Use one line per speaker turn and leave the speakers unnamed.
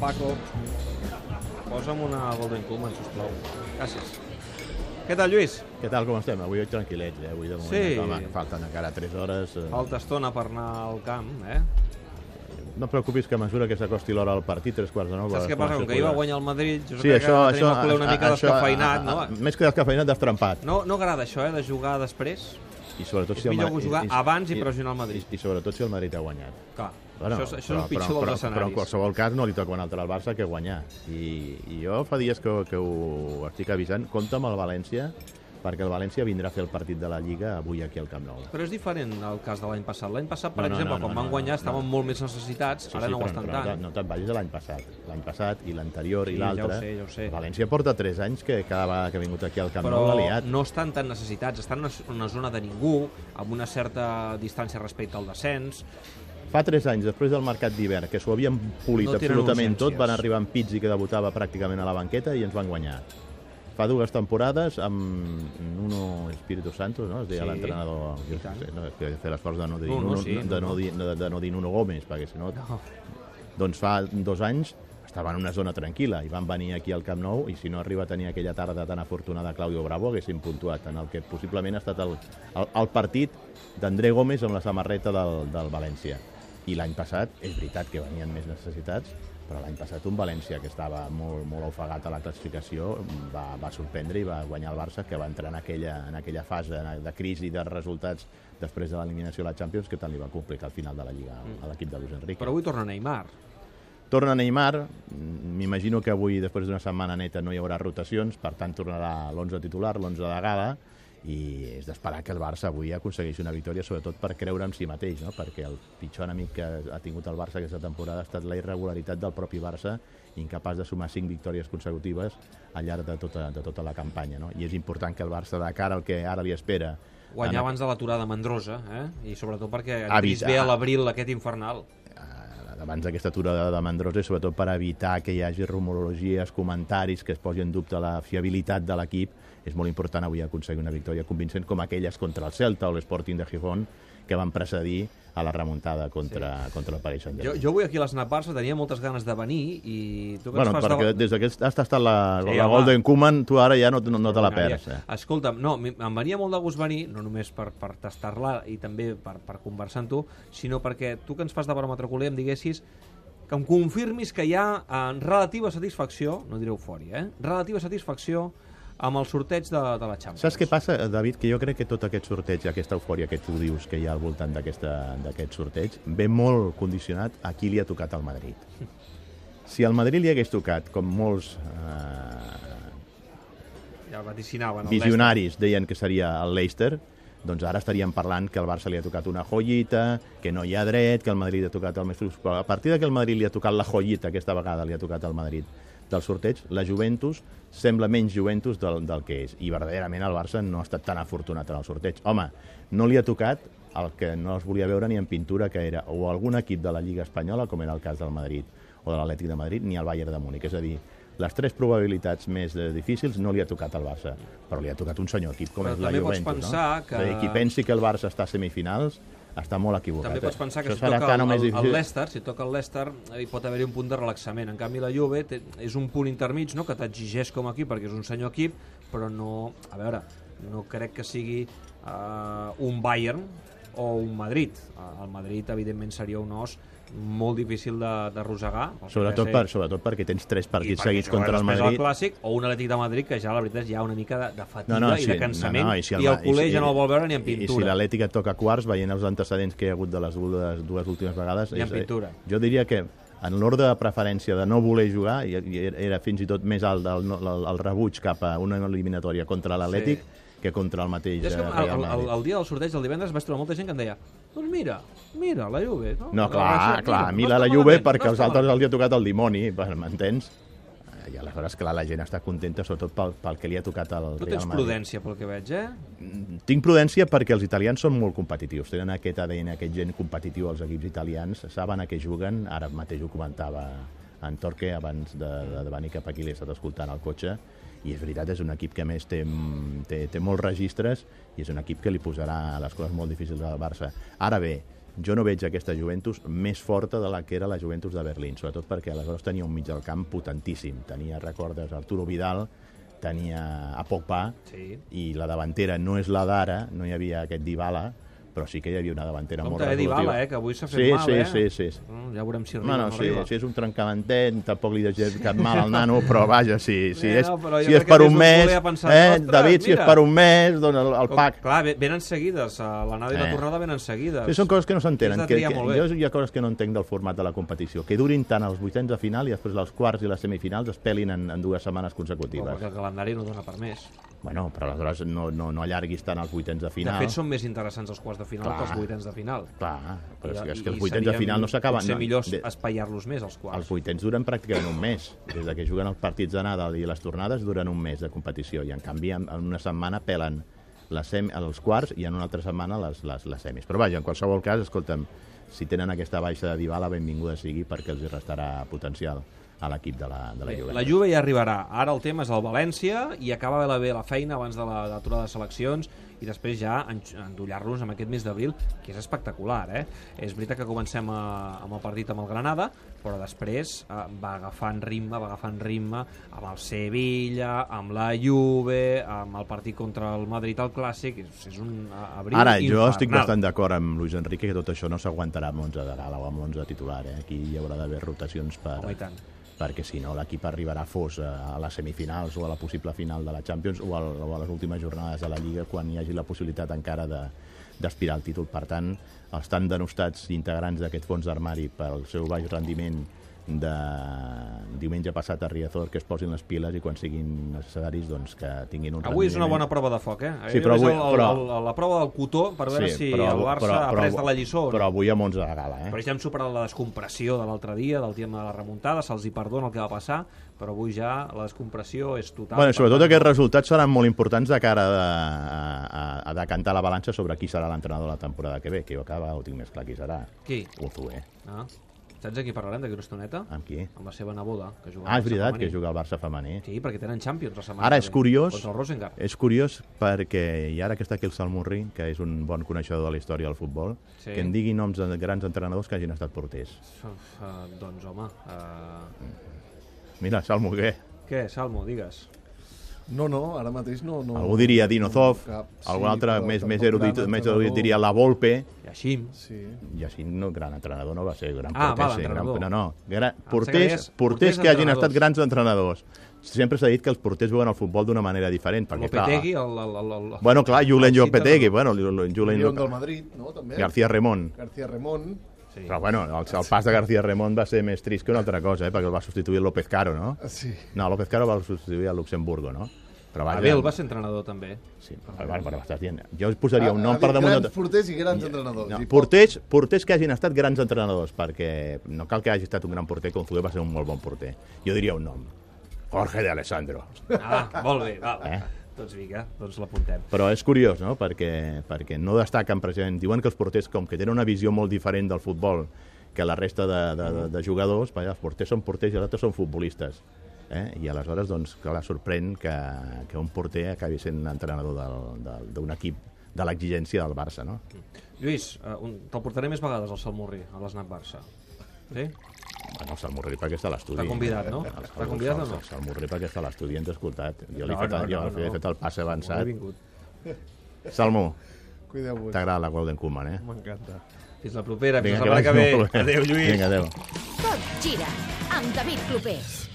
Paco. Posa'm una Golden Coolman, sisplau. Gràcies. Què tal, Lluís?
Què tal, com estem? Avui tranquil·lets, eh? Avui de moment,
Sí. Oh.
home, que falten encara 3 hores. eh.
Falta estona per anar al camp, eh?
No et preocupis que a mesura que s'acosti l'hora del partit, 3 quarts de 9...
Saps què passa? Com que ahir va guanyar el Madrid, jo
Sí,
crec
això,
que tenim
això,
el culer una mica
a- a-
descafeinat,
a- a-
no?
Més que descafeinat, destrempat.
No, no agrada això, eh, de jugar després.
I sobretot
És
si el
millor
Ma-
jugar abans i pressionar el Madrid.
I, i sobretot si el Madrid ha guanyat.
Clar, això, és- això és el pitjor
però,
dels
Però en
escenaris.
qualsevol cas no li toca un altre al Barça que guanyar. I, i jo fa dies que, que ho estic avisant. Compte amb el València, perquè el València vindrà a fer el partit de la Lliga avui aquí al Camp Nou.
Però és diferent el cas de l'any passat. L'any passat, per
No, no,
exemple,
no,
quan
no,
van
no,
guanyar
no.
estaven molt més necessitats, ara no ho
però
estan
però
tant.
No, no te'n vagis a l'any passat. L'any passat i l'anterior
Sí,
i
ja ho
l'altre.
sé, ja ho sé.
València porta 3 anys que cada vegada que ha vingut aquí al Camp
però
Nou l'ha liat.
no estan tan necessitats, estan en una- una zona de ningú, amb una certa distància respecte al descens.
Fa 3 anys, després del mercat d'hivern, que s'ho havien polit
No tenen
absolutament
urgències.
tot, van arribar amb Pizzi que debutava pràcticament a la banqueta i ens van guanyar. Fa dues temporades amb Nuno Espíritu Santos, no? Es deia
Sí,
l'entrenador...
i
jo
tant.
sé, No, és que he de fer l'esforç de no dir
Nuno,
Nuno,
sí,
de,
Nuno.
no dir, de, de no dir Nuno Gómez, perquè si no...
No.
Doncs fa dos anys estava en una zona tranquil·la i van venir aquí al Camp Nou i si no arriba a tenir aquella tarda tan afortunada Claudio Bravo haguessin puntuat en el que possiblement ha estat el, el, el partit d'André Gómez amb la samarreta del, del València. I l'any passat, és veritat que venien més necessitats, però l'any passat un València que estava molt, molt ofegat a la classificació va, va sorprendre i va guanyar el Barça que va entrar en aquella, en aquella fase de crisi de resultats després de l'eliminació a la Champions que tant li va complicar al final de la Lliga a l'equip de Luis Enrique.
Però avui torna Neymar.
Torna Neymar, mm, m'imagino que avui, després d'una setmana neta, no hi haurà rotacions, per tant tornarà l'11 titular, l'11 de gala, i és d'esperar que el Barça avui aconsegueixi una victòria, sobretot per creure en si mateix, no? perquè el pitjor enemic que ha tingut el Barça aquesta temporada ha estat la irregularitat del propi Barça, incapaç de sumar cinc victòries consecutives al llarg de tota, de tota la campanya. No? I és important que el Barça, de cara al que ara li espera,
Guanyar
en-
abans de l'aturada mandrosa, eh? I sobretot perquè ha vist
Avisar.
bé a l'abril aquest infernal.
eh, abans d'aquesta aturada de Mandrosa i sobretot per evitar que hi hagi rumorologies, comentaris que es posi en dubte la fiabilitat de l'equip, és molt important avui aconseguir una victòria convincent com aquelles contra el Celta o l'Sporting de Gijón que van precedir a la remuntada contra, sí. contra el Paris
Jo,
Saint-Germain.
jo avui aquí a l'esnap Barça tenia moltes ganes de venir i tu que ens
Bueno,
fas
perquè
de...
des que has estat la,
Sí,
la
home.
Golden Koeman, tu ara ja no, no, no te la perds. Eh?
Escolta'm, no, mi- em venia molt de gust venir, no només per, per tastar-la i també per, per conversar amb tu, sinó perquè tu que ens fas de baròmetre culer em diguessis que em confirmis que hi ha eh, relativa satisfacció, no diré eufòria, eh? relativa satisfacció amb el sorteig de, de la Champions.
Saps què passa, David? Que jo crec que tot aquest sorteig, aquesta eufòria que tu dius que hi ha al voltant d'aquesta- d'aquest sorteig, ve molt condicionat a qui li ha tocat al Madrid. Si al Madrid li hagués tocat, com molts eh,
Ja vaticinaven. el
visionaris deien que seria el Leicester, doncs ara estaríem parlant que al Barça li ha tocat una joyita, que no hi ha dret, que al Madrid li ha tocat el més... fluix. Però a partir de que al Madrid li ha tocat la joyita, aquesta vegada li ha tocat al Madrid del sorteig, la Juventus sembla menys Juventus del, del que és. I verdaderament el Barça no ha estat tan afortunat en el sorteig. Home, no li ha tocat el que no es volia veure ni en pintura, que era o algun equip de la Lliga Espanyola, com era el cas del Madrid o de l'Atlètic de Madrid, ni el Bayern de Múnich. És a dir, les tres probabilitats més eh, difícils no li ha tocat al Barça, però li ha tocat un senyor equip com
Però
és la
també pots
Juventus.
pensar
no?
que-
És a dir, qui pensi que el Barça està a semifinals està molt equivocat.
També
eh?
pots pensar que
Això
si
serà
toca
tant o
el,
més
el, el
difícil.
Leicester, si toca el Leicester, eh, hi pot haver-hi un punt de relaxament. En canvi, la Juve té, és un punt intermig, no?, que t'exigeix com a equip, perquè és un senyor equip, però no... A veure, no crec que sigui eh, un Bayern o un Madrid. Eh, El Madrid, evidentment, seria un os molt difícil de, de rosegar. el que
Sobretot,
ve a
per,
ser-
sobretot perquè tens tres
i
partits
perquè
seguits
juga
contra el
després
Madrid.
al Clàssic, o un Atlètic de Madrid, que ja, la veritat, ja una mica de, de fatiga i de cansament,
no, no,
i, si
el
el, i el
Ma-
culer
si-
ja no el vol veure ni en
i-
pintura.
I si l'Atlètic et toca quarts, veient els antecedents que hi ha hagut de les dues, dues últimes vegades...
Ni en
és- eh,
pintura.
Jo diria que en l'ordre de preferència de no voler jugar, i- i era- era fins i tot més alt el, el, el rebuig cap a una eliminatòria contra l'Atlètic que contra el mateix
Jo és que
eh,
el,
Real
el, el,
Madrid.
el dia del sorteig, el divendres, vaig trobar molta gent que em deia doncs mira, mira, la Juve. No,
No,
La
clar,
Barça-
clar, a mi
no
la, la
està
Juve
malament,
perquè
no
els
està
altres
malament.
els hi ha tocat el dimoni, per- m'entens? Eh, I aleshores, clar, la gent està contenta sobretot pel, pel que li ha tocat al
Tu
Real
tens
Madrid.
prudència, pel que veig, eh?
tinc prudència perquè els italians són molt competitius, tenen aquest ADN, aquest gent competitiu als equips italians, saben a què juguen, ara mateix ho comentava en Torque abans de, de, de venir cap aquí, l'he estat escoltant al cotxe, i és veritat, és un equip que a més té, té, té molts registres i és un equip que li posarà les coses molt difícils al Barça. Ara bé, jo no veig aquesta Juventus més forta de la que era la Juventus de Berlín, sobretot perquè aleshores tenia un mig del camp potentíssim. Tenia, recordes, Arturo Vidal, tenia a Pogba,
Sí.
i la davantera no és la d'ara, no hi havia aquest Dybala, però sí que hi havia una davantera
Com
molt
t'he dit,
resolutiva.
Bala, eh, que avui s'ha fet
sí,
mal,
sí,
eh?
Sí, sí, sí.
Mm, ja veurem si arriba
No,
o
no,
no
sí,
arriba.
sí, és un trencamantet, tampoc li desitjo cap mal al nano, però vaja, si, si
Bueno,
és,
però jo
si és
crec que
per
des
un
d'un
mes,
voler pensar,
eh,
"Ostres,
David, si és
mira".
per un mes, doncs el, el
Com-
pack.
Clar, ve- venen seguides, eh, l'anada i la
Eh.
tornada venen seguides.
Sí, són coses que no s'entenen.
Has de
Que,
triar
que,
molt bé.
jo hi ha coses que no entenc del format de la competició. Que durin tant els vuitens de final i després els quarts i les semifinals es pelin en, en dues setmanes
Però
consecutives.
perquè el calendari no dona per més.
Bueno, però aleshores no, no, no allarguis tant els vuitens de
De
final.
fet, són més interessants els quarts de final
Clar.
que els vuitens de final.
Clar, però és,
I-
que- és que
i
els vuitens de
serien-
final no s'acaben.
Potser
no,
millor
de-
espaiar-los més, els quarts.
els vuitens duren pràcticament un mes. Des de que juguen els partits d'anada i les tornades duren un mes de competició i en canvi en, en una setmana pelen les sem els quarts i en una altra setmana les, les, les semis. Però vaja, en qualsevol cas, escolta'm, si tenen aquesta baixa de Dybala, benvinguda sigui perquè els hi restarà potencial a l'equip de la, de la Juventus.
La Juve ja arribarà. Ara el tema és el València i acaba la- bé la feina abans de la- de l'aturada de seleccions i després ja en- endollar-los amb aquest mes d'abril, que és espectacular, eh? És veritat que comencem a, amb el partit amb el Granada, però després eh, va agafant ritme, va agafant ritme amb el Sevilla, amb la Juve, amb el partit contra el Madrid al Clàssic, és, és un a- abril
Ara, jo
infernal.
estic bastant d'acord amb Luis Enrique que tot això no s'aguantarà amb 11 de gala o amb 11 titular. Eh? Aquí hi haurà d'haver rotacions per,
Home, i tant.
perquè si no l'equip arribarà fos eh, a les semifinals o a la possible final de la Champions o, al, o a les últimes jornades de la Lliga quan hi hagi la possibilitat encara de d'aspirar al títol. Per tant, els tan denostats integrants d'aquest fons d'armari pel seu baix rendiment de diumenge passat a Riazor que es posin les piles i quan siguin necessaris doncs, que tinguin un
Avui és una
rendiment-
bona prova de foc, eh?
Sí, però
És
avui-
el, el,
però-
el, la prova del cotó per veure si el Barça ha pres de la lliçó. o no.
Però avui amb 11 de gala, eh?
Però ja hem superat la descompressió de l'altre dia, del tema de la remuntada, se'ls hi perdona el que va passar, però avui ja la descompressió és total.
Bueno, i sobretot aquests resultats seran molt importants de cara de, a, a, a decantar la balança sobre qui serà l'entrenador la temporada que ve, que jo acaba, ho tinc més clar qui serà.
Qui?
Unzué.
Ah, saps de qui parlarem d'aquí una estoneta?
Amb qui?
Amb la seva neboda, que juga
Ah,
al
és
Barça
veritat
femení.
que juga al Barça femení.
Sí, perquè tenen Champions la setmana
Ara
que
és
ve.
curiós.
Contra el Rosengar.
És curiós perquè, i ara que està aquí el Salmurri, que és un bon coneixedor de la història del futbol,
Sí.
que en digui noms de grans entrenadors que hagin estat porters.
Uf, eh, doncs, home... eh,
Mira, Salmoguer.
Què, Salmo, digues?
No, no, ara mateix no... no
Algú diria Dinozov,
Cap, sí,
algun altre
però
més,
tampoc
més
gran
erudit, més
entrenador.
erudit diria la Volpe,
I així...
Sí.
i així no, gran entrenador no va ser, gran
Ah,
porter,
va,
sí, gran,
entrenador.
no, no, gran,
que
porters,
deies
porters
porters
que hagin
entrenadors.
estat grans entrenadors. Sempre s'ha dit que els porters veuen el futbol d'una manera diferent, perquè
Lopetegui,
clar...
el... el, el, el...
Bueno, clar, Julen
Sí,
Lopetegui,
també.
bueno, Julen
Lyon del
Julen
Madrid, no, també?
García Remón.
García Ramon.
Sí.
Però bueno, el, el pas de García Remón va ser més trist que una altra cosa, eh, perquè el va substituir López Caro, no?
Sí.
No, López Caro va substituir a Luxemburgo, no? Però vaja,
Abel va ser entrenador, també.
Sí, el Bar, però estàs dient... Jo us posaria un nom
Ha- ha
per
dit
damunt... de
Grans
tot.
porters i grans entrenadors.
No,
I
porters, porters que hagin estat grans entrenadors, perquè no cal que hagi estat un gran porter, com Zuguer va ser un molt bon porter. Jo diria un nom, Jorge de Alessandro.
Ah, molt bé, val.
Eh?
Doncs vinga, doncs l'apuntem.
Però és curiós, no?, perquè, perquè no destaquen precisament. Diuen que els porters, com que tenen una visió molt diferent del futbol que la resta de, de, de, de jugadors, vaja, els porters són porters i els altres són futbolistes. Eh? I aleshores, doncs, clar, sorprèn que, que un porter acabi sent entrenador del- del- d'un equip de l'exigència del Barça, no?
Lluís, eh, un, te'l portaré més vegades al Salmurri, a l'Snac Barça. Sí?
Bueno, el Salmurri perquè està a l'estudi. Eh,
T'ha convidat, no?
El- el-
T'ha convidat o no?
El Salmurri perquè està a l'estudi, ens ha escoltat. Jo li,
No,
he fet,
no,
el- jo
no,
li he
no.
fet el passe
Bon
avançat.
vingut.
Salmo,
Cuideu-vos.
t'agrada la Golden Koeman, eh?
M'encanta.
Fins la propera, fins
Vinga,
la setmana que ve.
vagi molt bé.
Adéu, Lluís.
Vinga, adéu.
Tot gira amb David Clopés.